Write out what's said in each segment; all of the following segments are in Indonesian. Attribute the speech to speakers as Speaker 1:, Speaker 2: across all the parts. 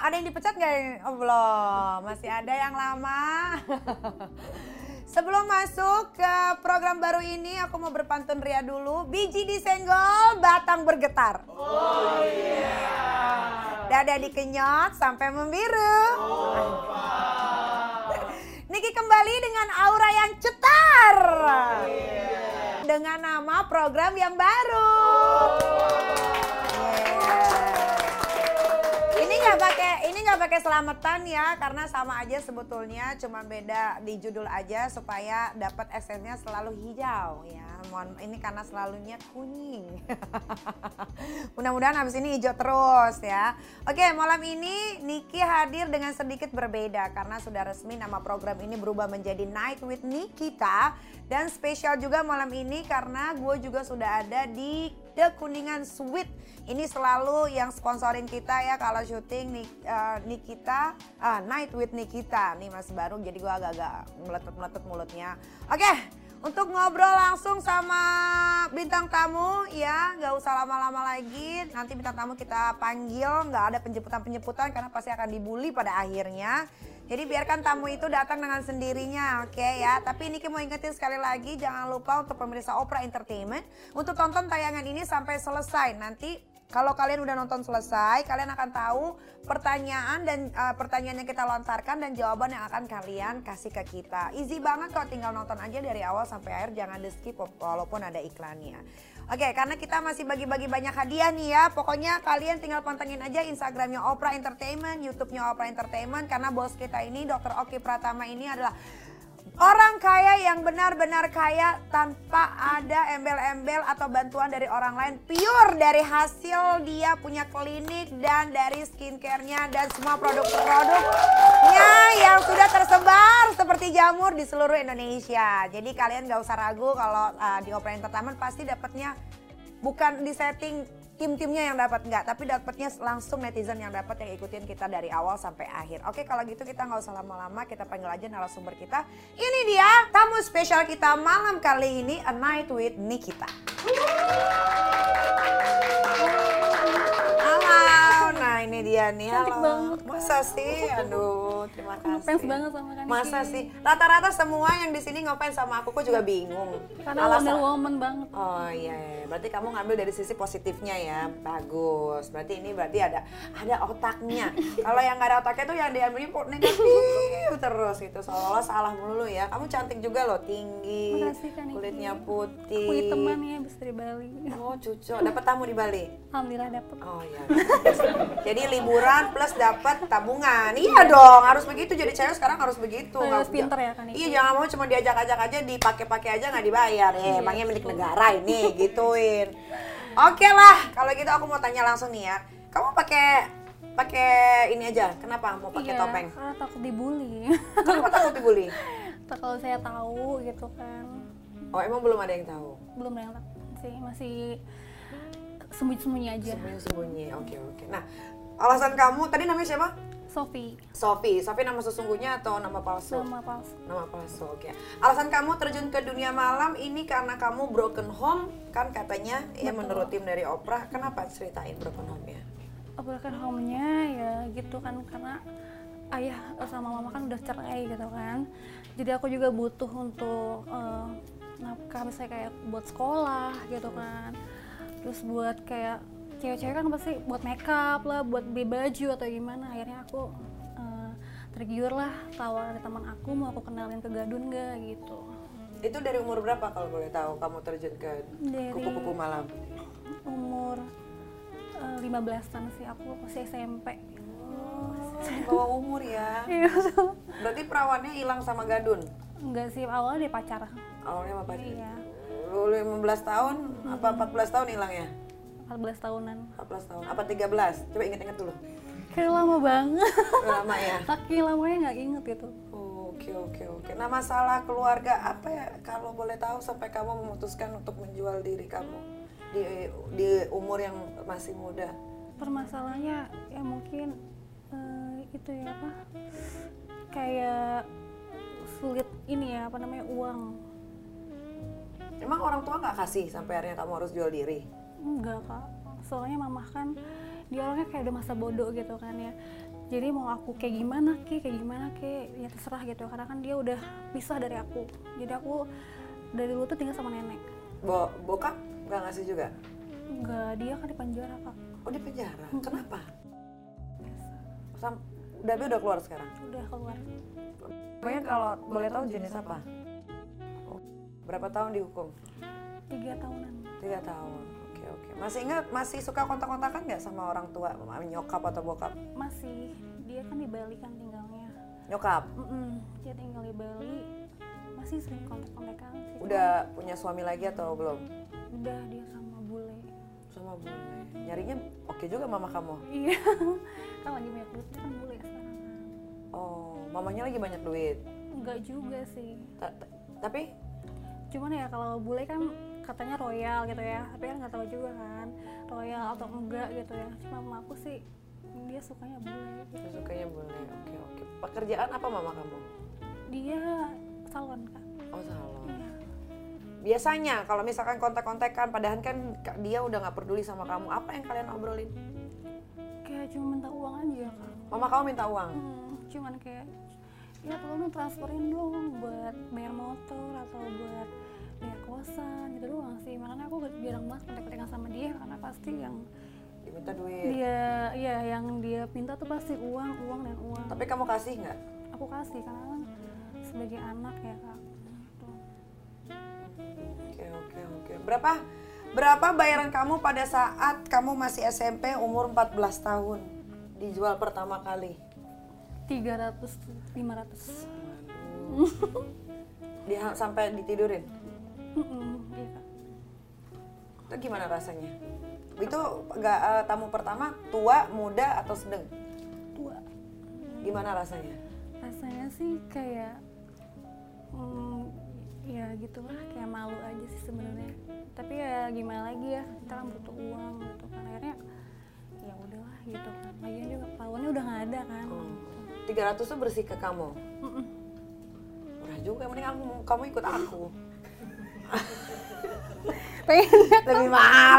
Speaker 1: Ada yang dipecat nggak? yang- Oh, belum. Masih ada yang lama. Sebelum masuk ke program baru ini, aku mau berpantun ria dulu. Biji disenggol, batang bergetar. Oh iya. Dada dikenyot sampai membiru. Niki kembali dengan aura yang cetar. Dengan nama program yang baru. Yeah. Ini nggak pakai ini nggak pakai selamatan ya karena sama aja sebetulnya cuma beda di judul aja supaya dapat esennya selalu hijau ya. Mohon ini karena selalunya kuning. Mudah-mudahan habis ini hijau terus ya. Oke, malam ini Niki hadir dengan sedikit berbeda karena sudah resmi nama program ini berubah menjadi Night with Nikita dan spesial juga malam ini karena gue juga sudah ada di The Kuningan Suite. Ini selalu yang sponsorin kita ya kalau syuting Ni- eh, Nikita ah, Night with Nikita. Nih masih baru jadi gua agak-agak meletot-meletot mulutnya. Oke, untuk ngobrol langsung sama bintang tamu ya, nggak usah lama-lama lagi. Nanti bintang tamu kita panggil, nggak ada penjemputan-penjemputan karena pasti akan dibully pada akhirnya. Jadi biarkan tamu itu datang dengan sendirinya, oke ya. Tapi Niki mau ingetin sekali lagi, jangan lupa untuk pemirsa Opera Entertainment untuk tonton tayangan ini sampai selesai. Nanti kalau kalian udah nonton selesai, kalian akan tahu pertanyaan dan eh, pertanyaan yang kita lontarkan dan jawaban yang akan kalian kasih ke kita. Easy banget kok tinggal nonton aja dari awal sampai akhir, jangan di skip walaupun ada iklannya. Oke, karena kita masih bagi-bagi banyak hadiah nih ya. Pokoknya kalian tinggal pantengin aja Instagramnya Opera Entertainment, YouTube-nya Opera Entertainment. Karena bos kita ini, Dr. Oki Pratama ini adalah orang kaya yang benar-benar kaya tanpa ada embel-embel atau bantuan dari orang lain. Pure dari hasil dia punya klinik dan dari skincare-nya dan semua produk-produknya Iya, yang sudah tersebar seperti jamur di seluruh Indonesia. Jadi kalian gak usah ragu kalau uh, di Opera Entertainment pasti dapatnya bukan di setting tim-timnya yang dapat nggak, tapi dapatnya langsung netizen yang dapat yang ikutin kita dari awal sampai akhir. Oke, kalau gitu kita nggak usah lama-lama, kita panggil aja narasumber kita. Ini dia tamu spesial kita malam kali ini, A Night with Nikita. Halo, nah ini dia nih.
Speaker 2: Cantik
Speaker 1: Halo.
Speaker 2: banget, Kak.
Speaker 1: Masa sih? Aduh, terima kasih.
Speaker 2: Ngefans banget sama Kak Niki.
Speaker 1: Masa sih? Rata-rata semua yang di sini ngefans sama aku, aku juga bingung.
Speaker 2: Karena
Speaker 1: Alasan-
Speaker 2: Wonder Woman banget.
Speaker 1: Oh iya, iya. berarti kamu ngambil dari sisi positifnya ya, bagus. Berarti ini berarti ada ada otaknya. Kalau yang nggak ada otaknya tuh yang diambilnya po- negatif terus gitu, seolah-olah salah melulu ya. Kamu cantik juga loh, tinggi,
Speaker 2: Makasih, Kak Niki.
Speaker 1: kulitnya
Speaker 2: Aku
Speaker 1: putih.
Speaker 2: teman ya abis dari Bali.
Speaker 1: Oh cucu, dapat tamu di Bali.
Speaker 2: Alhamdulillah dapet.
Speaker 1: Oh iya. jadi liburan plus dapat tabungan. Iya dong, harus begitu. Jadi cewek sekarang harus begitu.
Speaker 2: Oh,
Speaker 1: Nggak-
Speaker 2: harus pinter ya, Kak Niki.
Speaker 1: Iya, jangan mau cuma diajak-ajak aja dipakai-pakai aja nggak dibayar. Eh,
Speaker 2: Iya,
Speaker 1: emangnya milik negara ini gituin. Oke lah, kalau gitu aku mau tanya langsung nih ya. Kamu pakai pakai ini aja. Kenapa mau pakai
Speaker 2: Iya,
Speaker 1: topeng?
Speaker 2: Karena takut dibully.
Speaker 1: Kenapa takut dibully?
Speaker 2: Ntar kalau saya tahu gitu kan,
Speaker 1: Oh, emang belum ada yang tahu.
Speaker 2: belum ada yang tahu sih masih sembunyi-sembunyi aja.
Speaker 1: Sembunyi-sembunyi. Oke, oke. Nah, alasan kamu tadi namanya siapa?
Speaker 2: Sophie,
Speaker 1: Sofi. Sofi nama sesungguhnya atau nama palsu?
Speaker 2: nama palsu.
Speaker 1: nama palsu oke alasan kamu terjun ke dunia malam ini karena kamu broken home kan katanya ya menurut tim dari Oprah kenapa ceritain broken home nya
Speaker 2: Broken home-nya ya gitu kan karena ayah sama mama kan udah cerai gitu kan. Jadi aku juga butuh untuk eh, nafkah misalnya kayak buat sekolah gitu kan. Terus buat kayak cewek-cewek kan pasti buat makeup lah, buat beli baju atau gimana. Akhirnya aku eh, tergiur lah tawaran dari teman aku mau aku kenalin ke Gadun gak gitu.
Speaker 1: itu dari umur berapa kalau boleh tahu kamu terjun ke
Speaker 2: Dari-
Speaker 1: kupu-kupu malam
Speaker 2: Umur eh, 15-an sih aku masih SMP.
Speaker 1: Di bawah umur ya berarti perawannya hilang sama gadun
Speaker 2: Enggak sih awalnya dia pacar.
Speaker 1: awalnya apa
Speaker 2: Iya.
Speaker 1: lu 15 tahun apa 14 tahun hilangnya
Speaker 2: 14 tahunan
Speaker 1: 14 tahun apa 13 coba inget-inget dulu
Speaker 2: kayak lama banget
Speaker 1: lama ya
Speaker 2: saking lamanya nggak inget gitu
Speaker 1: Oke oke oke. Nah masalah keluarga apa ya kalau boleh tahu sampai kamu memutuskan untuk menjual diri kamu di di umur yang masih muda.
Speaker 2: permasalahannya ya mungkin eh, itu ya apa kayak sulit ini ya apa namanya uang
Speaker 1: Emang orang tua nggak kasih sampai akhirnya kamu harus jual diri?
Speaker 2: enggak kak soalnya mamah kan dia orangnya kayak udah masa bodoh gitu kan ya jadi mau aku kayak gimana ki kayak gimana ki ya terserah gitu karena kan dia udah pisah dari aku jadi aku dari dulu tuh tinggal sama nenek
Speaker 1: Bo- bokap nggak ngasih juga?
Speaker 2: nggak dia kan di penjara kak
Speaker 1: Oh di penjara. Kenapa? Sam, Dabi udah keluar sekarang.
Speaker 2: udah keluar
Speaker 1: Pokoknya kalau boleh tahu jenis apa? Oh, Berapa tahun dihukum?
Speaker 2: tiga tahunan
Speaker 1: Tiga tahun. Oke oke. Masih ingat? Masih suka kontak-kontakan nggak sama orang tua, nyokap atau bokap?
Speaker 2: masih dia kan di Bali kan tinggalnya
Speaker 1: Nyokap.
Speaker 2: Mm-mm, dia tinggal di Bali masih sering kontak-kontakan sih
Speaker 1: Udah punya suami lagi atau belum?
Speaker 2: udah dia sama bule
Speaker 1: Sama bule. Nyarinya oke juga mama kamu.
Speaker 2: iya kan lagi banyak duit kan bule sekarang
Speaker 1: Oh, mamanya lagi banyak duit.
Speaker 2: enggak juga sih
Speaker 1: Ta- ta- tapi
Speaker 2: cuman ya kalau bule kan katanya royal gitu ya tapi kan nggak tahu juga kan royal atau enggak gitu ya cuma mama aku sih dia sukanya bule gitu.
Speaker 1: sukanya bule. Oke oke. Pekerjaan apa mama kamu?
Speaker 2: dia salon kak
Speaker 1: Oh salon.
Speaker 2: iya
Speaker 1: Biasanya kalau misalkan kontak-kontakan, padahal kan ka- dia udah nggak peduli sama kamu. Apa yang kalian obrolin?
Speaker 2: kayak cuma minta uang aja kak
Speaker 1: Mama kamu minta uang.
Speaker 2: Hmm, cuman kayak ya tolong dong transferin dong buat bayar motor atau buat bayar kosan gitu doang sih makanya aku jarang banget kontak-kontakan sama dia karena pasti yang
Speaker 1: Diminta duit.
Speaker 2: dia ya yang dia pinta tuh pasti uang uang dan uang
Speaker 1: Tapi kamu kasih nggak?
Speaker 2: aku kasih karena kan sebagai anak ya kak Tuh.
Speaker 1: Oke oke oke. Berapa berapa bayaran kamu pada saat kamu masih SMP umur 14 tahun dijual pertama kali?
Speaker 2: 300 500
Speaker 1: Dia sampai ditidurin.
Speaker 2: Mm-mm, iya kak
Speaker 1: Itu gimana rasanya? Itu nggak eh, tamu pertama tua, muda atau sedang?
Speaker 2: tua
Speaker 1: Gimana rasanya?
Speaker 2: rasanya sih kayak mm, ya gitulah kayak malu aja sih sebenarnya tapi ya gimana lagi ya kita kan butuh uang gitu kan akhirnya ya udahlah gitu kan lagian juga pawannya udah nggak ada kan
Speaker 1: Oh. 300 tuh bersih ke kamu.
Speaker 2: Mm-mm.
Speaker 1: Murah juga, mending aku, kamu ikut aku.
Speaker 2: pengen
Speaker 1: Lebih mahal.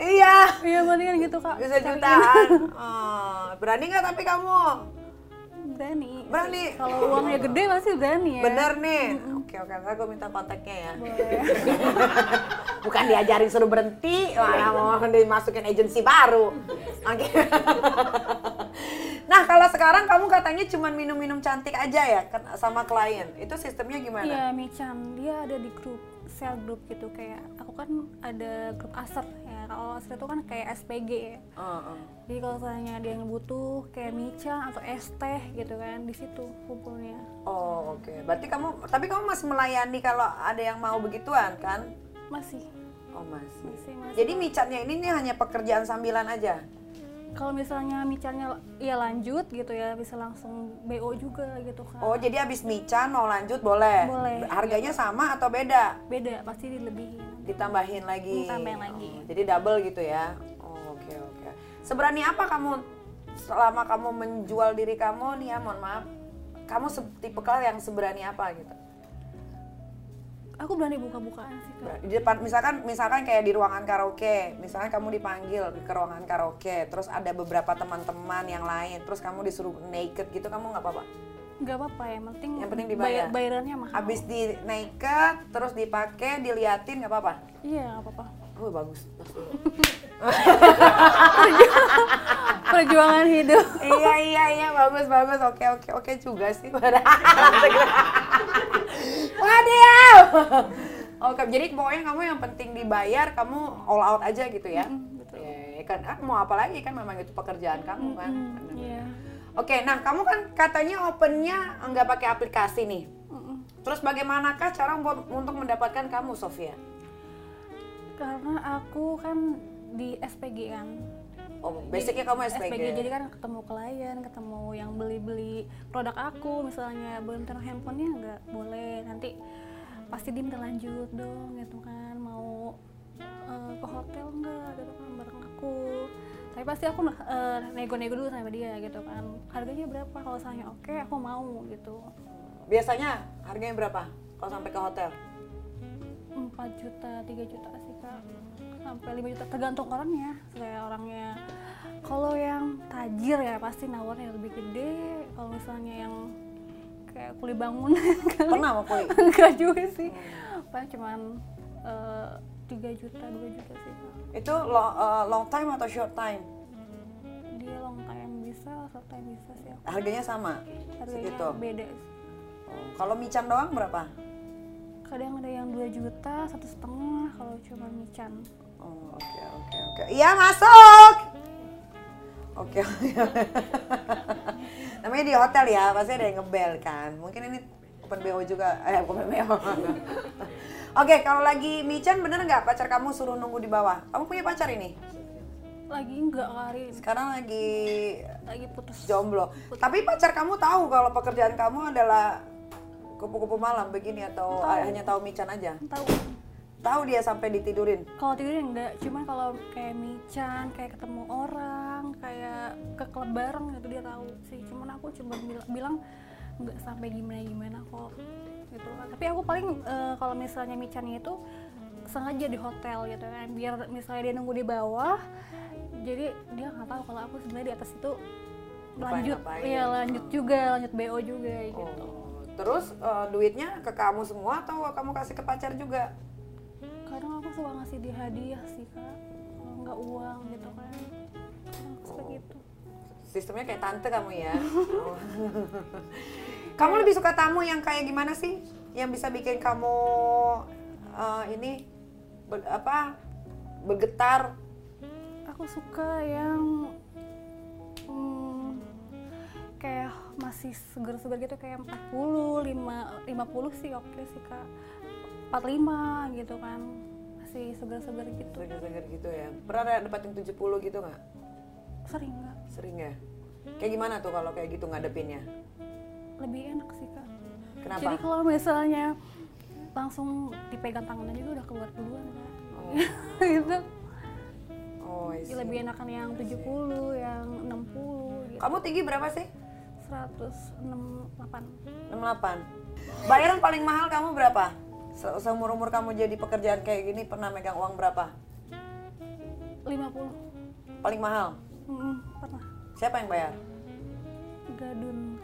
Speaker 1: iya.
Speaker 2: ya mendingan gitu kak
Speaker 1: Bisa
Speaker 2: Cari-
Speaker 1: jutaan. Oh, berani nggak tapi kamu?
Speaker 2: berani
Speaker 1: Berani.
Speaker 2: kalau uangnya gede pasti berani ya
Speaker 1: Bener nih. Oke oke, ntar gue minta kontaknya ya.
Speaker 2: Boleh.
Speaker 1: Bukan diajarin suruh berhenti, malah mau dimasukin agensi baru. Oke. nah kalau sekarang kamu katanya cuman minum-minum cantik aja ya ke- sama klien. Itu sistemnya gimana?
Speaker 2: Iya, Michan. Dia ada di grup sel grup gitu kayak aku kan ada grup aser ya. Kalau aser itu kan kayak SPG ya.
Speaker 1: Oh, oh.
Speaker 2: Jadi kalau misalnya dia yang butuh kayak Michan atau es teh gitu kan di situ kumpulnya.
Speaker 1: Oh, oke. Berarti kamu tapi kamu masih melayani kalau ada yang mau begituan kan?
Speaker 2: Masih
Speaker 1: Oh, masih.
Speaker 2: masih masih.
Speaker 1: Jadi micatnya ini nih hanya pekerjaan sambilan aja.
Speaker 2: Kalau misalnya Michannya ya lanjut gitu ya bisa langsung BO juga gitu kan.
Speaker 1: Oh, jadi abis mican mau lanjut boleh.
Speaker 2: Boleh. Iya.
Speaker 1: Harganya sama atau beda?
Speaker 2: Beda pasti dilebihin.
Speaker 1: Ditambahin lagi.
Speaker 2: Ditambahin lagi.
Speaker 1: Oh, jadi double gitu ya. Oh, oke oke. Seberani apa kamu selama kamu menjual diri kamu nih ya, mohon maaf. Kamu se- tipe klien yang seberani apa gitu?
Speaker 2: Aku berani buka-bukaan sih kak.
Speaker 1: di depan misalkan misalkan kayak di ruangan karaoke misalkan kamu dipanggil ke ruangan karaoke terus ada beberapa teman-teman yang lain terus kamu disuruh naked gitu kamu nggak apa-apa
Speaker 2: Gak apa-apa yang penting.
Speaker 1: Yang penting dibayar.
Speaker 2: bayar- bayarannya mahal.
Speaker 1: abis di naked terus dipakai diliatin nggak apa-apa
Speaker 2: Iya nggak apa-apa.
Speaker 1: Wih bagus
Speaker 2: Perjuangan hidup.
Speaker 1: iya iya iya bagus bagus oke oke oke juga sih waduh oke jadi pokoknya kamu yang penting dibayar kamu all out aja gitu ya Iya, iya kan ah, mau apa lagi kan memang itu pekerjaan kamu kan
Speaker 2: Mm, Iya.
Speaker 1: Oke, nah kamu kan katanya opennya nggak pakai aplikasi nih.
Speaker 2: Mm-mm.
Speaker 1: Terus bagaimanakah cara buat- untuk mendapatkan kamu, Sofia?
Speaker 2: Karena aku kan di SPG kan.
Speaker 1: Oh, basicnya kamu SPG.
Speaker 2: jadi kan ketemu klien, ketemu yang beli-beli produk aku, misalnya bentar handphonenya nggak boleh, nanti pasti dia minta lanjut dong gitu kan, mau eh, ke hotel nggak gitu kan bareng aku. Tapi pasti aku eh, nego-nego dulu sama dia gitu kan, harganya berapa? Kalau misalnya oke, aku mau gitu.
Speaker 1: Biasanya harganya berapa kalau sampai ke hotel?
Speaker 2: 4 juta, 3 juta sih kak sampai 5 juta tergantung orangnya kayak orangnya kalau yang tajir ya pasti nawarnya lebih gede kalau misalnya yang kayak kulit bangunan kali
Speaker 1: Pernah sama kuli?
Speaker 2: enggak juga sih paling cuman eh, tiga juta dua juta sih
Speaker 1: Itu lo- eh, long time atau short time?
Speaker 2: dia long time bisa short time bisa sih
Speaker 1: Harganya sama?
Speaker 2: harganya
Speaker 1: Segitu?
Speaker 2: beda sih.
Speaker 1: Oh, Kalau mican doang berapa?
Speaker 2: kadang ada yang 2 juta satu setengah kalau cuma mican
Speaker 1: Oh, oke, oke, oke. Iya, masuk! Oke, oke. Namanya di hotel ya, pasti ada yang ngebel kan. Mungkin ini open BO juga. Eh, open BO. oke, kalau lagi mican bener nggak pacar kamu suruh nunggu di bawah? Kamu punya pacar ini?
Speaker 2: lagi enggak kali
Speaker 1: Sekarang lagi
Speaker 2: lagi putus
Speaker 1: jomblo. Tapi pacar kamu tahu kalau pekerjaan kamu adalah kupu-kupu malam begini atau hanya tahu mican aja?
Speaker 2: tahu kan?
Speaker 1: Tahu dia sampai ditidurin.
Speaker 2: kalau tidurin enggak cuma kalau kayak mican kayak ketemu orang kayak ke klub bareng gitu dia tahu sih cuman aku cuma bila- bilang enggak sampai gimana gimana kok gitu kan tapi aku paling eh, kalau misalnya micannya itu sengaja di hotel gitu kan biar misalnya dia nunggu di bawah jadi dia nggak tahu kalau aku sebenarnya di atas itu lanjut
Speaker 1: Ngapain-ngapain.
Speaker 2: iya lanjut juga lanjut bo juga gitu
Speaker 1: Oh, Terus eh, duitnya ke kamu semua atau kamu kasih ke pacar juga?
Speaker 2: kadang aku suka ngasih dia hadiah sih kak kalau nggak uang gitu kan Aku suka gitu
Speaker 1: Sistemnya kayak tante kamu ya. Oh. kamu lebih suka tamu yang kayak gimana sih? Yang bisa bikin kamu eh, ini ber- apa? bergetar.
Speaker 2: aku suka yang hmm, kayak masih segar-segar gitu kayak 40, 5, 50 sih oke sih kak 45 gitu kan masih segar-segar gitu
Speaker 1: Seger-seger gitu ya. Pernah ada dapat yang 70 gitu nggak?
Speaker 2: sering nggak
Speaker 1: Sering ya? Kayak gimana tuh kalau kayak gitu ngadepinnya?
Speaker 2: lebih enak sih kak
Speaker 1: Kenapa?
Speaker 2: jadi kalau misalnya langsung dipegang tangannya juga udah keluar duluan kak gitu
Speaker 1: Oh, I see.
Speaker 2: lebih enakan yang 70, yang 60 gitu
Speaker 1: Kamu tinggi berapa sih?
Speaker 2: 168
Speaker 1: 68. Bayaran paling mahal kamu berapa? Se- Seumur-umur kamu jadi pekerjaan kayak gini pernah megang uang berapa?
Speaker 2: 50
Speaker 1: Paling mahal?
Speaker 2: Mm, pernah
Speaker 1: Siapa yang bayar?
Speaker 2: gadun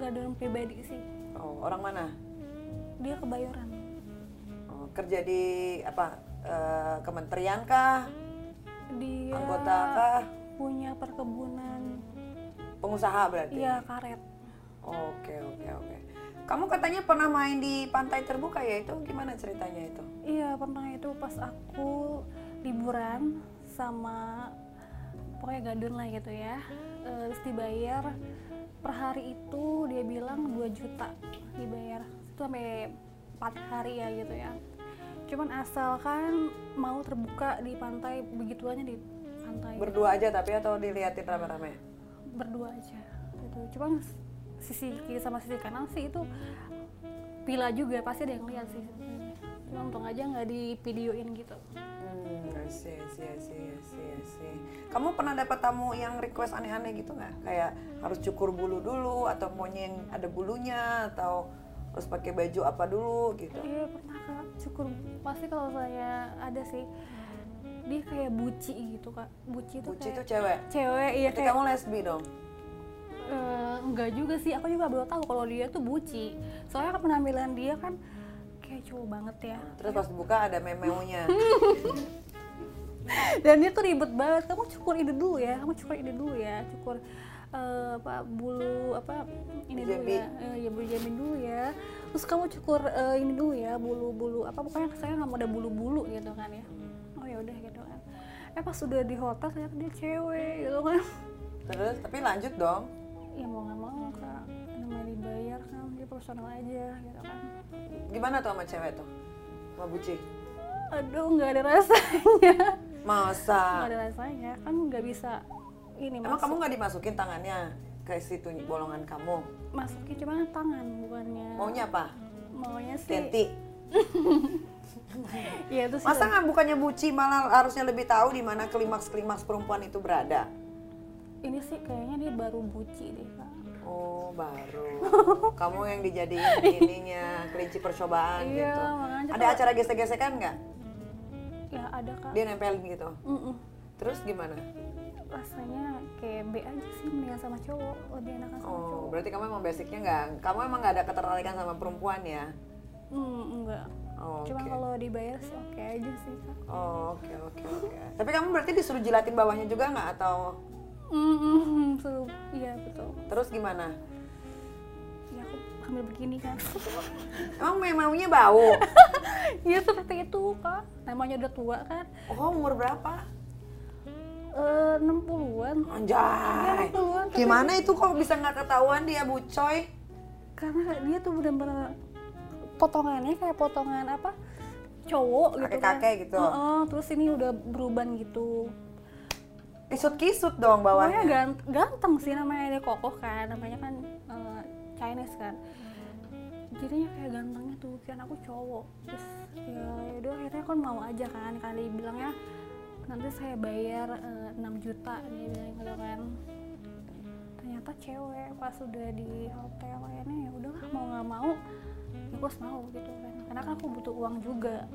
Speaker 2: gadun pribadi sih
Speaker 1: Oh, orang mana?
Speaker 2: dia kebayoran
Speaker 1: Oh, kerja di apa? eh, kementerian kah?
Speaker 2: dia
Speaker 1: Anggota kah?
Speaker 2: punya perkebunan
Speaker 1: Pengusaha berarti?
Speaker 2: iya karet
Speaker 1: Oke, oke, oke. Kamu katanya pernah main di pantai terbuka ya? Itu gimana ceritanya itu?
Speaker 2: iya pernah itu pas aku liburan sama pokoknya gadun lah gitu ya Eh, terus dibayar per hari itu dia bilang 2 juta dibayar itu sampai 4 hari ya gitu ya cuman asalkan mau terbuka di pantai begituannya di pantai
Speaker 1: Berdua aja tapi atau diliatin rame-rame?
Speaker 2: berdua aja gitu cuman s- sisi kiri sama sisi kanan sih itu pila juga pasti ada yang lihat sih sebenarnya. cuma untung aja nggak di videoin gitu
Speaker 1: Hmm, I see, I see, I see, I see, I see. Kamu pernah dapat tamu yang request aneh-aneh gitu nggak? Kayak harus cukur bulu dulu atau maunya yang ada bulunya atau harus pakai baju apa dulu gitu?
Speaker 2: iya pernah kak cukur pasti kalau saya ada sih dia kayak buci gitu kak buci itu
Speaker 1: Buci itu
Speaker 2: kayak
Speaker 1: cewek.
Speaker 2: cewek iya
Speaker 1: Berarti
Speaker 2: kayak
Speaker 1: kamu lesbi dong.
Speaker 2: eh, enggak juga sih aku juga baru tahu kalau dia tuh buci soalnya kan penampilan dia kan kayak cowok banget ya
Speaker 1: Terus pas buka ada memeunya.
Speaker 2: dan dia tuh ribet banget kamu cukur ini dulu ya kamu cukur ini dulu ya cukur eh, apa bulu apa ini dulu
Speaker 1: Jamin.
Speaker 2: ya Eh, ya bulu jamin dulu ya terus kamu cukur eh, ini dulu ya bulu bulu apa pokoknya saya nggak mau ada bulu bulu gitu kan ya oh ya udah gitu kan eh pas sudah di hotel ternyata dia cewek gitu kan
Speaker 1: Terus tapi lanjut dong.
Speaker 2: ya mau nggak mau kak namanya dibayar kan dia personal aja gitu kan
Speaker 1: Gimana tuh sama cewek tuh? Sama buci?
Speaker 2: aduh nggak ada rasanya nggak
Speaker 1: Masa?
Speaker 2: ada rasanya kan nggak bisa ini
Speaker 1: Emang
Speaker 2: masuk.
Speaker 1: kamu nggak dimasukin tangannya ke situ bolongan kamu?
Speaker 2: masukin cuman tangan bukannya
Speaker 1: Maunya apa?
Speaker 2: maunya sih
Speaker 1: Tenti.
Speaker 2: ya itu sih
Speaker 1: Masa nggak bukannya buci malah harusnya lebih tahu di mana klimaks-klimaks perempuan itu berada?
Speaker 2: ini sih kayaknya dia baru buci deh kak
Speaker 1: Oh, baru. Kamu yang dijadiin ininya kelinci percobaan
Speaker 2: Iya,
Speaker 1: gitu.
Speaker 2: makanya
Speaker 1: Ada
Speaker 2: kalau-
Speaker 1: acara gesek-gesekan nggak?
Speaker 2: ya ada kak
Speaker 1: Dia nempelin gitu.
Speaker 2: Mm-mm.
Speaker 1: Terus gimana?
Speaker 2: rasanya B aja sih mendingan sama cowok lebih enakan sama
Speaker 1: Oh,
Speaker 2: cowok
Speaker 1: berarti kamu emang basicnya nggak, kamu emang nggak ada ketertarikan sama perempuan ya?
Speaker 2: hmm, enggak
Speaker 1: Oh,
Speaker 2: cuma
Speaker 1: oke.
Speaker 2: kalau dibayar sih oke aja sih kak
Speaker 1: Oh, oke oke oke. Tapi kamu berarti disuruh jilatin bawahnya juga nggak atau
Speaker 2: Hmm, hmm, hmm, seru iya betul
Speaker 1: terus gimana?
Speaker 2: ya aku hamil begini kan
Speaker 1: Emang memangnya bau?
Speaker 2: ya seperti itu kak namanya udah tua kan
Speaker 1: Oh, umur berapa?
Speaker 2: eh 60-an
Speaker 1: Anjay.
Speaker 2: 60-an tapi
Speaker 1: Gimana itu kok bisa nggak ketahuan dia bucoy?
Speaker 2: karena dia tuh bener-bener potongannya kayak potongan apa cowok gitu kan.
Speaker 1: Kakek-kakek gitu.
Speaker 2: Heeh, terus ini udah beruban gitu
Speaker 1: Kisut-kisut dong bawahnya.
Speaker 2: Pokoknya gant- ganteng sih namanya dia kokoh kan, namanya kan eh, Chinese kan. Jadinya kayak gantengnya tuh, kan aku cowok. Terus ya udah akhirnya kan mau aja kan, karena dia bilangnya nanti saya bayar eh, 6 juta dia bilang gitu kan. Ternyata cewek pas udah di hotel kayaknya ya udahlah mau nggak mau, ya gue harus mau gitu kan. Karena kan aku butuh uang juga.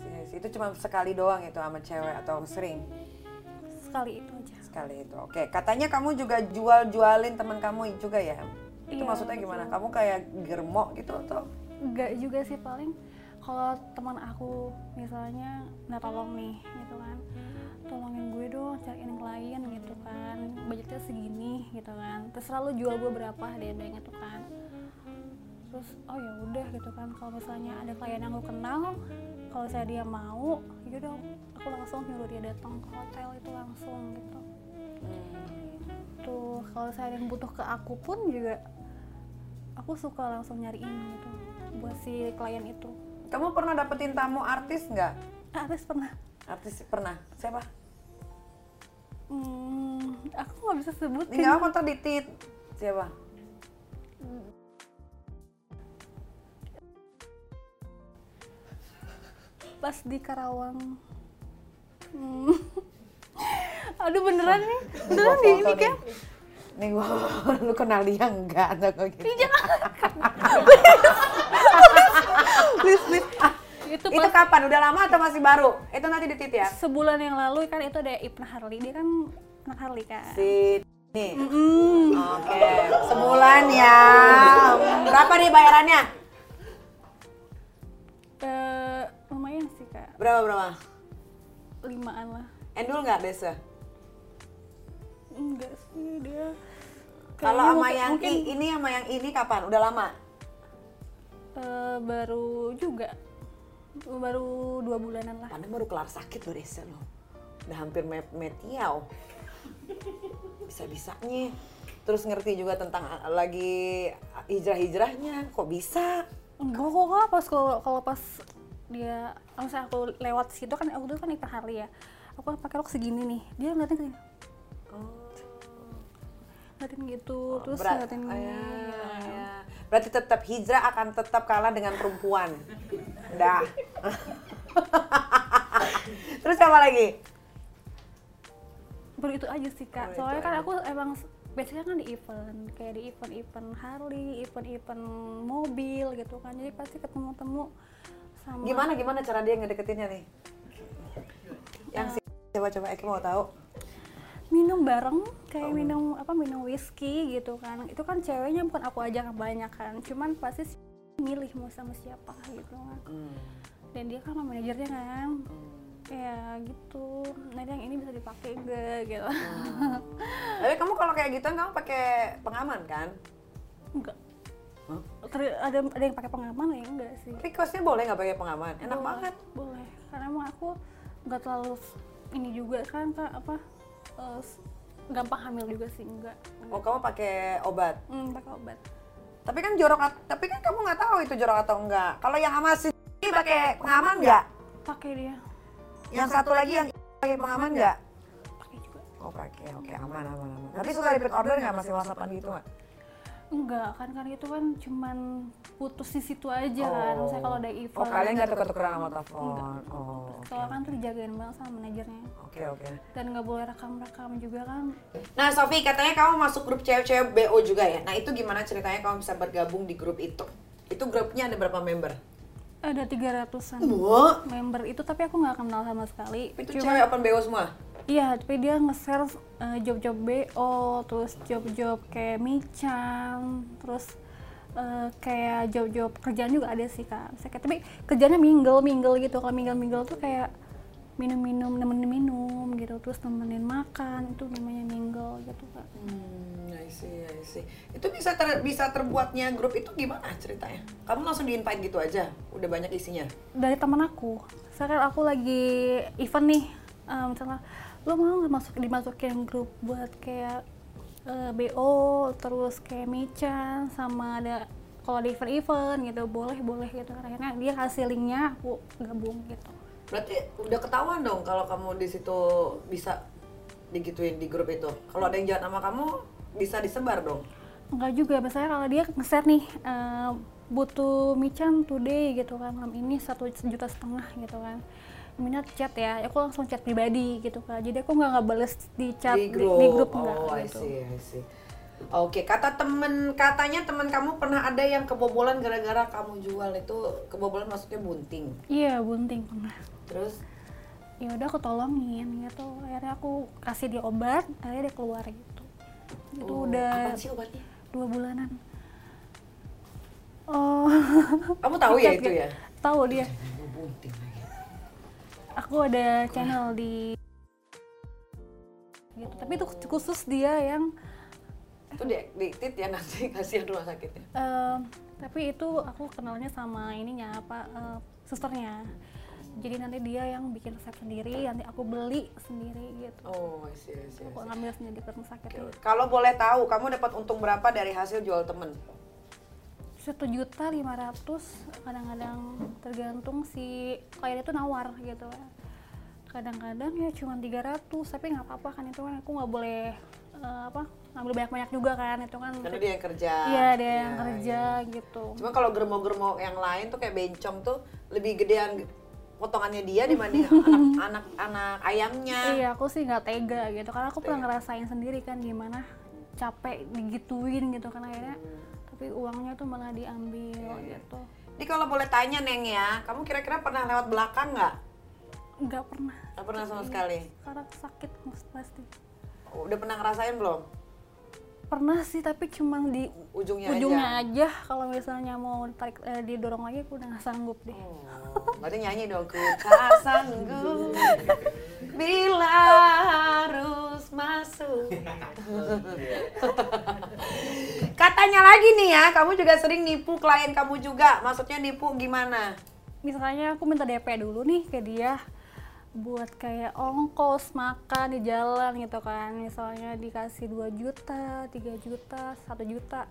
Speaker 1: Yes, Itu cuma sekali doang itu sama cewek atau sering
Speaker 2: Sekali itu aja.
Speaker 1: sekali itu. Oke, katanya kamu juga jual-jualin teman kamu juga ya? Itu
Speaker 2: Iya,
Speaker 1: maksudnya gimana? Kamu kayak germok gitu atau?
Speaker 2: enggak juga sih paling kalau teman aku misalnya minta tolong nih gitu kan tolongin gue dong cariin yang lain gitu kan budgetnya segini gitu kan terus selalu jual gue berapa dia bilang gitu kan terus oh ya udah gitu kan kalau misalnya ada klien yang gue kenal kalau saya dia mau ya dong aku langsung nyuruh dia datang ke hotel itu langsung gitu
Speaker 1: Hmm.
Speaker 2: tuh kalau saya yang butuh ke aku pun juga aku suka langsung nyariin gitu buat si klien itu
Speaker 1: Kamu pernah dapetin tamu artis nggak?
Speaker 2: Ah, terus pernah
Speaker 1: Artis pernah? Siapa?
Speaker 2: hmm, aku nggak bisa sebutin
Speaker 1: Tinggal apa ntar ditit? Siapa?
Speaker 2: pas di Karawang Hmm. aduh beneran nih beneran nih ini kan
Speaker 1: Nih gua lu kenal dia enggak atau kayak gitu. Please, please. Ah,
Speaker 2: itu
Speaker 1: Itu
Speaker 2: pas
Speaker 1: kapan? Udah lama atau masih baru? Itu nanti ditit ya.
Speaker 2: sebulan yang lalu kan itu ada Ibn Harley dia kan anak Harley kan
Speaker 1: Si nih.
Speaker 2: hmm.
Speaker 1: Oke, sebulan ya. Berapa nih bayarannya?
Speaker 2: eh, lumayan sih kak
Speaker 1: Berapa berapa?
Speaker 2: limaan lah
Speaker 1: Endul nggak desa?
Speaker 2: enggak sih dia
Speaker 1: Kalau sama
Speaker 2: Kayaknya
Speaker 1: yang
Speaker 2: mungkin-
Speaker 1: i- ini sama yang ini kapan? Udah lama?
Speaker 2: Eh, baru juga baru dua bulanan lah
Speaker 1: Padahal baru kelar sakit loh Desa lo. Udah hampir met metiau. Bisa-bisanya. Terus ngerti juga tentang a- lagi hijrah-hijrahnya. Kok bisa?
Speaker 2: enggak kok Kak. pas kalau kalau pas dia misalnya aku lewat situ kan aku dulu kan ikut Harley ya aku pakai rok segini nih dia ngeliatin kayak
Speaker 1: Oh.
Speaker 2: ngeliatin gitu terus
Speaker 1: Berat.
Speaker 2: ngeliatin
Speaker 1: Ah,
Speaker 2: gini,
Speaker 1: ya,
Speaker 2: gitu.
Speaker 1: ya. Berarti tetap hijrah akan tetap kalah dengan perempuan. Dah. Terus apa lagi?
Speaker 2: baru itu aja sih
Speaker 1: Baru
Speaker 2: kak
Speaker 1: itu
Speaker 2: soalnya kan aku emang s- biasanya kan di event kayak di event-event Harley event-event mobil gitu kan jadi pasti ketemu-temu sama
Speaker 1: Gimana gimana cara dia ngedeketinnya nih? Yang si coba coba Eki mau tahu.
Speaker 2: minum bareng kayak
Speaker 1: Oh.
Speaker 2: minum apa minum whisky gitu kan itu kan ceweknya bukan aku aja kebanyakan cuman pasti si milih mau sama siapa gitu kan dan dia kan sama manajernya kan ya gitu nah yang ini bisa dipakai enggak gitu
Speaker 1: Oh. Tapi kamu kalau kayak gitu kamu pakai pengaman kan?
Speaker 2: enggak
Speaker 1: Hah?
Speaker 2: Ter- ada ada yang pakai pengaman ada yang enggak sih
Speaker 1: Tapi kosnya boleh nggak pakai pengaman? Enak
Speaker 2: Boleh,
Speaker 1: banget.
Speaker 2: boleh karena emang aku nggak terlalu s- ini juga kan kak apa eh, s- gampang hamil juga sih enggak
Speaker 1: Oh kamu pakai obat.
Speaker 2: hmm, pakai obat
Speaker 1: Tapi kan jorok. at- Tapi kan kamu nggak tahu itu jorok atau enggak. Kalau yang sama si ini pakai pengaman nggak?
Speaker 2: pakai dia
Speaker 1: Yang satu lagi yang pakai pengaman nggak?
Speaker 2: pakai juga
Speaker 1: Oh pakai. Oke aman aman aman. Tapi suka repeat order nggak masih whatsappan gitu nggak?
Speaker 2: Enggak, kan karena itu kan cuman putus di situ aja kan. Saya kalau ada event.
Speaker 1: Oh kalian nggak tuker-tukeran sama telepon. Oh.
Speaker 2: Soalnya kan tuh dijagain banget sama manajernya.
Speaker 1: Oke oke.
Speaker 2: Dan nggak boleh rekam-rekam juga kan.
Speaker 1: Nah, Sofi, katanya kamu masuk grup cewek-cewek BO juga ya. Nah, itu gimana ceritanya kamu bisa bergabung di grup itu? Itu grupnya ada berapa member?
Speaker 2: Ada 300-an
Speaker 1: Wah,
Speaker 2: member itu tapi aku nggak kenal sama sekali.
Speaker 1: itu
Speaker 2: Cuma-
Speaker 1: cewek open BO semua.
Speaker 2: Iya, tapi dia nge-share eh, job-job BO, terus job-job kayak mican, terus eh, kayak job-job kerjaan juga ada sih kak. Misalnya, kayak- tapi kerjanya mingle mingle gitu. Kalau mingle mingle tuh kayak minum-minum, nemenin minum gitu, terus nemenin makan itu namanya mingle gitu kak.
Speaker 1: Hmm, I see, I see. Itu bisa ter- bisa terbuatnya grup itu gimana ceritanya? Kamu langsung di invite gitu aja, udah banyak isinya.
Speaker 2: Dari teman aku, misalkan aku lagi event nih, eh, misalnya lo mau nggak masuk dimasukin grup buat kayak eh, BO terus kayak mican sama ada kalau ada event-event gitu boleh boleh gitu akhirnya dia kasih linknya aku gabung gitu
Speaker 1: Berarti udah ketahuan dong kalau kamu di situ bisa digituin di grup itu. Kalau ada yang jahat sama kamu bisa disebar dong.
Speaker 2: enggak juga misalnya kalau dia nge-share nih eh, butuh mican today gitu kan malam ini satu juta setengah gitu kan minat chat ya aku langsung chat pribadi gitu kan jadi aku nggak nggak bales di chat
Speaker 1: di grup.
Speaker 2: enggak
Speaker 1: oh, I
Speaker 2: gitu.
Speaker 1: see, I see. Oke, kata temen katanya temen kamu pernah ada yang kebobolan gara-gara kamu jual itu kebobolan maksudnya bunting.
Speaker 2: iya bunting pernah
Speaker 1: Terus
Speaker 2: ya udah aku tolongin gitu akhirnya aku kasih dia obat akhirnya dia keluar gitu itu
Speaker 1: oh,
Speaker 2: udah
Speaker 1: apaan sih obatnya?
Speaker 2: dua bulanan oh
Speaker 1: Kamu tahu ya
Speaker 2: Dicat
Speaker 1: itu
Speaker 2: gitu.
Speaker 1: ya?
Speaker 2: tahu dia
Speaker 1: Aduh, Bunting lagi.
Speaker 2: aku ada channel di gitu tapi itu khusus dia yang
Speaker 1: Itu di, di tit ya nanti kasihan rumah sakitnya.
Speaker 2: eh, tapi itu aku kenalnya sama ininya apa eh, susternya jadi nanti dia yang bikin resep sendiri nanti aku beli sendiri gitu
Speaker 1: Oh, I see, I see, I
Speaker 2: aku
Speaker 1: see.
Speaker 2: ngambil sendiri ke rumah sakit
Speaker 1: Oke. Kalau boleh tahu, kamu dapat untung berapa dari hasil jual temen?
Speaker 2: satu juta lima ratus kadang-kadang tergantung si kayak itu nawar gitu kadang-kadang ya cuma 300 tapi nggak apa-apa kan itu kan aku nggak boleh eh, apa ngambil banyak-banyak juga kan itu kan
Speaker 1: Karena dia yang kerja.
Speaker 2: iya ada yang
Speaker 1: Iya,
Speaker 2: kerja gitu
Speaker 1: Cuma kalau germo-germo yang lain tuh kayak bencong tuh lebih gedean potongannya dia dibanding anak-anak anak ayamnya.
Speaker 2: iya aku sih nggak tega gitu karena aku
Speaker 1: Iya.
Speaker 2: pernah ngerasain sendiri kan gimana capek digituin gitu kan akhirnya tapi uangnya tuh malah diambil
Speaker 1: Iya,
Speaker 2: gitu
Speaker 1: Jadi kalau boleh tanya Neng ya, kamu kira-kira pernah lewat belakang nggak?
Speaker 2: nggak pernah
Speaker 1: Nggak pernah
Speaker 2: Iya.
Speaker 1: sama sekali.
Speaker 2: karena sakit pasti
Speaker 1: Udah pernah ngerasain belum?
Speaker 2: pernah sih tapi cuma di
Speaker 1: Ujungnya,
Speaker 2: ujungnya
Speaker 1: aja.
Speaker 2: aja kalau misalnya mau ditarik eh, didorong lagi aku udah nggak sanggup deh
Speaker 1: Oh, berarti nyanyi dong ku tak sanggup bila harus masuk. Katanya lagi nih ya, kamu juga sering nipu klien kamu juga. Maksudnya nipu gimana?
Speaker 2: misalnya aku minta DP dulu nih ke dia buat kayak ongkos makan di jalan gitu kan misalnya dikasih 2 juta 3 juta 1 juta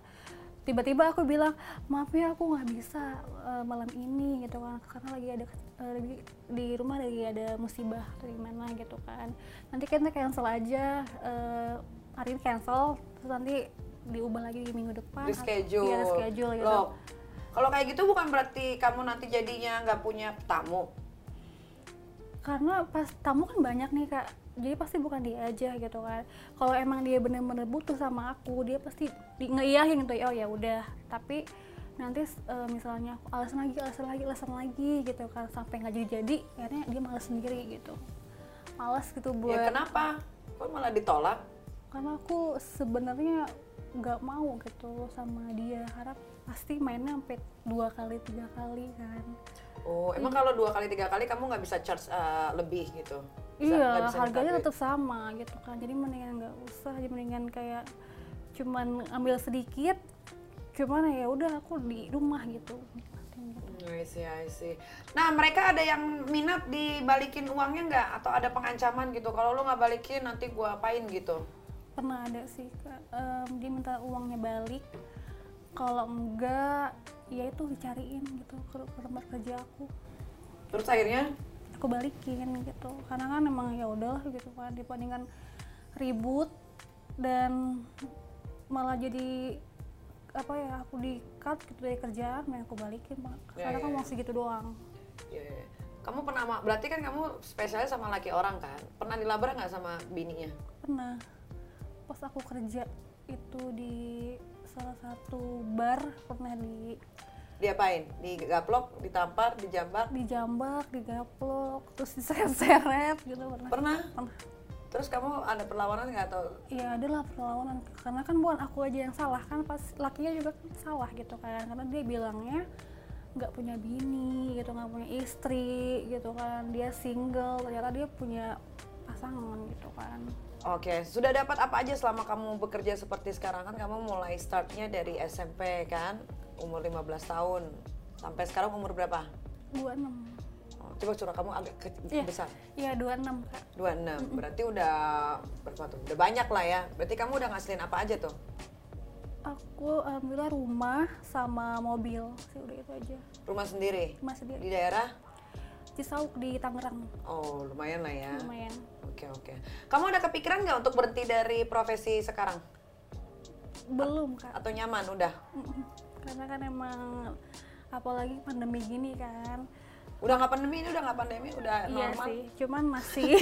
Speaker 2: tiba-tiba aku bilang maaf ya aku nggak bisa eh, malam ini gitu kan karena lagi ada eh, lagi di rumah lagi ada musibah atau gimana gitu kan nanti kita cancel aja eh, hari ini cancel terus nanti diubah lagi di minggu depan atau-
Speaker 1: reschedule.
Speaker 2: iya reschedule gitu
Speaker 1: Loh, kalau kayak gitu bukan berarti kamu nanti jadinya nggak punya tamu.
Speaker 2: karena pas tamu kan banyak nih kak jadi pasti bukan dia aja gitu kan kalau emang dia bener-bener butuh sama aku dia pasti di- ngeiyahin gitu oh ya udah tapi nanti eh, misalnya aku alasan lagi alasan lagi alasan lagi gitu kan sampai nggak jadi jadi akhirnya dia malas sendiri gitu malas gitu buat
Speaker 1: Ya kenapa? Kok malah ditolak?
Speaker 2: karena aku sebenarnya nggak mau gitu sama dia harap pasti mainnya sampai dua kali tiga kali kan
Speaker 1: Oh, emang
Speaker 2: Iya.
Speaker 1: kalau dua kali tiga kali kamu nggak bisa charge eh, lebih gitu? Bisa- nggak
Speaker 2: Iya,
Speaker 1: bisa minta
Speaker 2: harganya
Speaker 1: duit?
Speaker 2: tetap sama gitu kan. Jadi mendingan nggak usah, jadi mendingan kayak cuman ambil sedikit. Cuman ya udah aku di rumah gitu.
Speaker 1: Hmm, I see, I see. Nah, mereka ada yang minat dibalikin uangnya nggak? Atau ada pengancaman gitu? Kalau lu nggak balikin, nanti gua apain gitu?
Speaker 2: Pernah ada sih Kak, em, dia minta uangnya balik. Kalau enggak, ya itu dicariin gitu ke, ke tempat kerja aku.
Speaker 1: Terus akhirnya,
Speaker 2: Aku balikin gitu. Karena kan emang ya udahlah gitu kan dibandingkan ribut dan malah jadi apa ya aku di cut gitu dari kerjaan main aku balikin Pak.
Speaker 1: Ya,
Speaker 2: karena
Speaker 1: ya,
Speaker 2: kan
Speaker 1: ya.
Speaker 2: uang segitu doang
Speaker 1: ya, ya. kamu pernah, ma- berarti kan kamu spesialnya sama laki orang kan? Pernah dilabrak nggak sama bininya?
Speaker 2: pernah pas aku kerja itu di salah satu bar pernah di
Speaker 1: Diapain? Digaplok, ditampar, dijambak?
Speaker 2: dijambak digaplok terus diseret-seret gitu pernah
Speaker 1: Pernah?
Speaker 2: Pernah.
Speaker 1: Terus kamu ada perlawanan nggak atau
Speaker 2: Iya ada lah perlawanan karena kan bukan aku aja yang salah kan pas lakinya juga kan salah gitu kan karena dia bilangnya nggak punya bini gitu nggak punya istri gitu kan dia single ternyata dia punya pasangan gitu kan
Speaker 1: Oke, sudah dapat apa aja selama kamu bekerja seperti sekarang kan kamu mulai startnya dari SMP kan umur 15 tahun sampai sekarang umur berapa?
Speaker 2: dua enam
Speaker 1: Oh, Coba curah kamu agak ke-
Speaker 2: Iya.
Speaker 1: besar.
Speaker 2: iya dua enam kak
Speaker 1: 26. Berarti udah berapa tuh? Udah banyak lah ya. Berarti kamu udah ngasilin apa aja tuh?
Speaker 2: aku alhamdulillah rumah sama mobil sih udah itu aja
Speaker 1: Rumah sendiri
Speaker 2: masih
Speaker 1: di
Speaker 2: di
Speaker 1: daerah?
Speaker 2: Cisauk di Tangerang
Speaker 1: Oh, lumayan lah ya.
Speaker 2: lumayan
Speaker 1: Oke, oke. Kamu ada kepikiran nggak untuk berhenti dari profesi sekarang
Speaker 2: belum kak
Speaker 1: atau nyaman udah?
Speaker 2: Mm-mm. karena kan emang apalagi pandemi gini kan
Speaker 1: Udah nggak pandemi ini udah nggak pandemi udah
Speaker 2: Iya
Speaker 1: normal.
Speaker 2: sih, cuman masih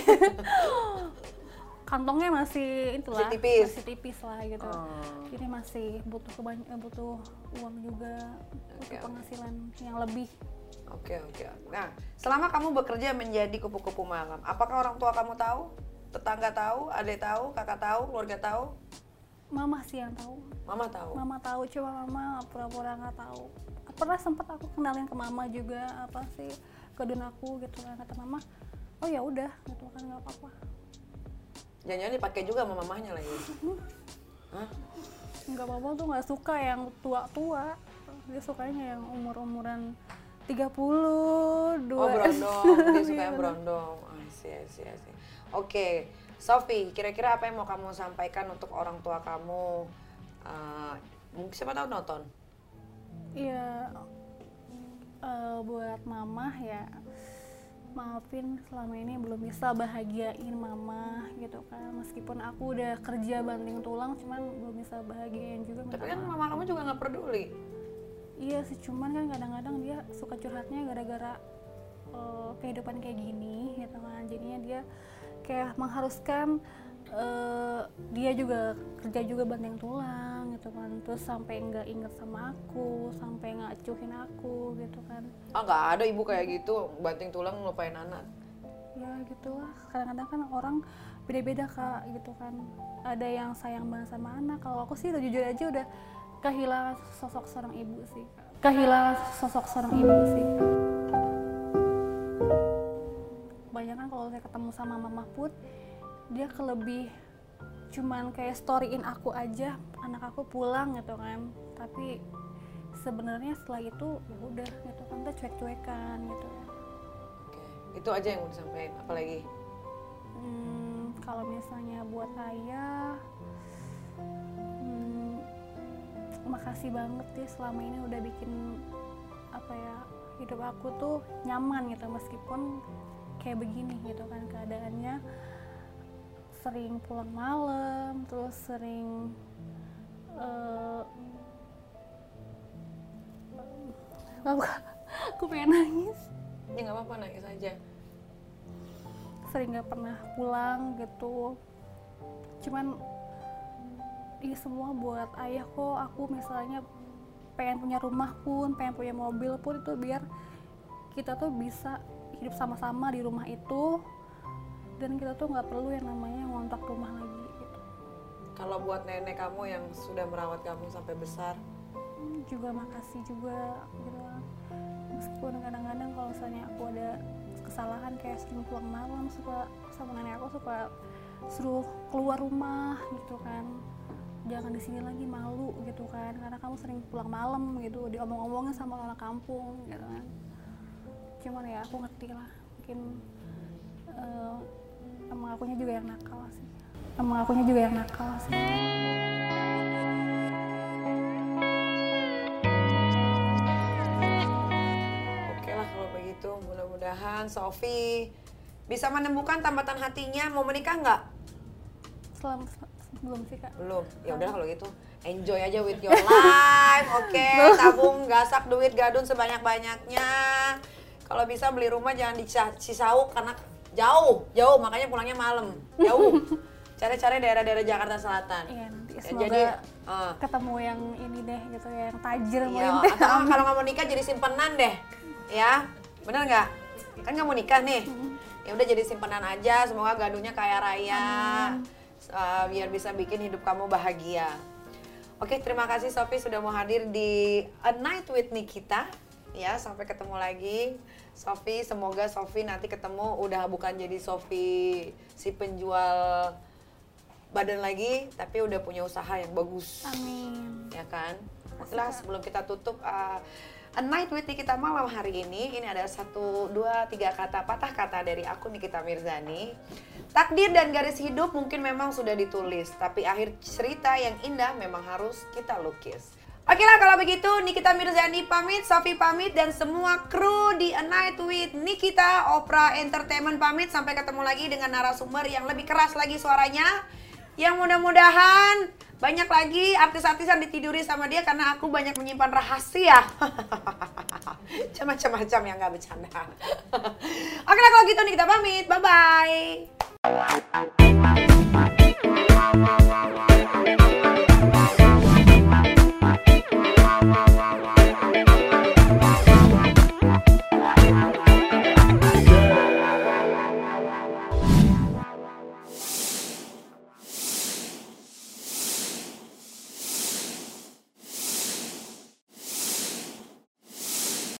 Speaker 2: kantongnya masih itulah,
Speaker 1: Masih tipis.
Speaker 2: masih tipis lah gitu.
Speaker 1: Oh.
Speaker 2: Jadi masih butuh kebany- eh, butuh uang juga, butuh
Speaker 1: Oke, oke.
Speaker 2: penghasilan yang lebih.
Speaker 1: Oke oke. Nah, selama kamu bekerja menjadi kupu-kupu malam, apakah orang tua kamu tahu? Tetangga tahu, adik tahu, kakak tahu, keluarga tahu,
Speaker 2: Mama sih yang tahu,
Speaker 1: mama tahu.
Speaker 2: mama tahu, cuma mama pura-pura nggak tahu. Pernah sempat aku kenalin ke mama juga apa sih kedun aku gitu kan kata mama, oh ya udah gitu kan nggak apa-apa.
Speaker 1: Jangan-jangan dipakai juga sama mamahnya lagi. Hah?
Speaker 2: nggak apa-apa tuh nggak suka yang tua-tua dia sukanya yang umur-umuran 30 dua
Speaker 1: Oh berondong, dia suka yang berondong. Ah, sih, sih, sih. Oke, Sofi, kira-kira apa yang mau kamu sampaikan untuk orang tua kamu? Eh, mungkin siapa tahu nonton.
Speaker 2: Iya, eh, buat mama ya maafin selama ini belum bisa bahagiain mama gitu kan meskipun aku udah kerja banting tulang cuman belum bisa bahagiain juga minta
Speaker 1: Tapi kan
Speaker 2: maaf.
Speaker 1: mama kamu juga nggak peduli.
Speaker 2: Iya sih, cuman kan kadang-kadang dia suka curhatnya gara-gara eh, kehidupan kayak gini gitu kan. Jadinya dia kayak mengharuskan eh, dia juga kerja juga banting tulang gitu kan. Terus sampai nggak inget sama aku, sampai ngacuhin aku gitu kan.
Speaker 1: Ah nggak ada ibu kayak gitu, banting tulang ngelupain anak.
Speaker 2: Ya gitulah. Kadang-kadang kan orang beda-beda kak gitu kan. Ada yang sayang banget sama anak. Kalau aku sih udah jujur aja udah kehilangan sosok seorang ibu sih. Kak. Kehilangan sosok seorang ibu sih. Kak. kebanyakan kalau saya ketemu sama mama put dia ke lebih cuman kayak storyin aku aja anak aku pulang gitu kan tapi sebenarnya setelah itu ya udah gitu kan kita cuek-cuekan gitu
Speaker 1: Oke, itu aja yang mau disampaikan. Apalagi?
Speaker 2: Hmm, kalau misalnya buat ayah hmm, makasih banget ya selama ini udah bikin apa ya hidup aku tuh nyaman gitu meskipun kayak begini gitu kan keadaannya sering pulang malam terus sering eh, aku pengen nangis
Speaker 1: Ya nggak apa-apa nangis aja.
Speaker 2: sering nggak pernah pulang gitu cuman ini semua buat ayah kok aku misalnya pengen punya rumah pun pengen punya mobil pun itu biar kita tuh bisa hidup sama-sama di rumah itu dan kita tuh nggak perlu yang namanya ngontak rumah lagi gitu
Speaker 1: Kalau buat nenek kamu yang sudah merawat kamu sampai besar,
Speaker 2: Hmm, juga makasih juga gitu lah. meskipun kadang-kadang kalau misalnya aku ada kesalahan kayak sering pulang malam suka sama nenek aku suka suruh keluar rumah gitu kan jangan di sini lagi malu gitu kan karena kamu sering pulang malam gitu diomong-omongin sama orang kampung gitu kan cuman ya aku ngerti lah mungkin eh, emang akunya juga yang nakal sih emang akunya juga yang nakal sih
Speaker 1: oke lah kalau begitu. Mudah-mudahan Sofi bisa menemukan tambatan hatinya. Mau menikah nggak?
Speaker 2: selama belum sih kak
Speaker 1: Belum. Ya udahlah kalau gitu. Enjoy aja with your life, oke? Tabung, gasak duit, gadun sebanyak-banyaknya. Kalau bisa beli rumah jangan di Cisa- Cisauk karena jauh, jauh. Makanya pulangnya malam, jauh. Cari-cari daerah-daerah Jakarta Selatan.
Speaker 2: Iya nanti
Speaker 1: Ya,
Speaker 2: semoga
Speaker 1: jadi, eh.
Speaker 2: ketemu yang ini deh gitu ya, yang tajir
Speaker 1: Iya,
Speaker 2: melintih.
Speaker 1: atau nggak kalau nggak mau nikah jadi simpenan deh, ya, bener nggak? Kan nggak mau nikah nih, ya udah jadi simpenan aja. Semoga gaduhnya kaya raya, Eh, biar bisa bikin hidup kamu bahagia. Oke, terima kasih Sophie sudah mau hadir di A Night with Nikita. Ya, sampai ketemu lagi. Sophie, semoga Sophie nanti ketemu udah bukan jadi Sophie si penjual badan lagi, tapi udah punya usaha yang bagus
Speaker 2: Amin.
Speaker 1: ya kan? Setelah sebelum kita tutup uh, A Night with Nikita malam hari ini, ini ada satu, dua, tiga kata patah kata dari aku Nikita Mirzani. Takdir dan garis hidup mungkin memang sudah ditulis, tapi akhir cerita yang indah memang harus kita lukis. Oke lah kalau begitu Nikita Mirzani pamit, Sofi pamit, dan semua kru di A Night with Nikita Opera Entertainment pamit. Sampai ketemu lagi dengan narasumber yang lebih keras lagi suaranya yang mudah-mudahan banyak lagi artis-artis yang ditiduri sama dia karena aku banyak menyimpan rahasia. Macam-macam yang nggak bercanda. Oke lah kalau gitu nih kita pamit. Bye-bye.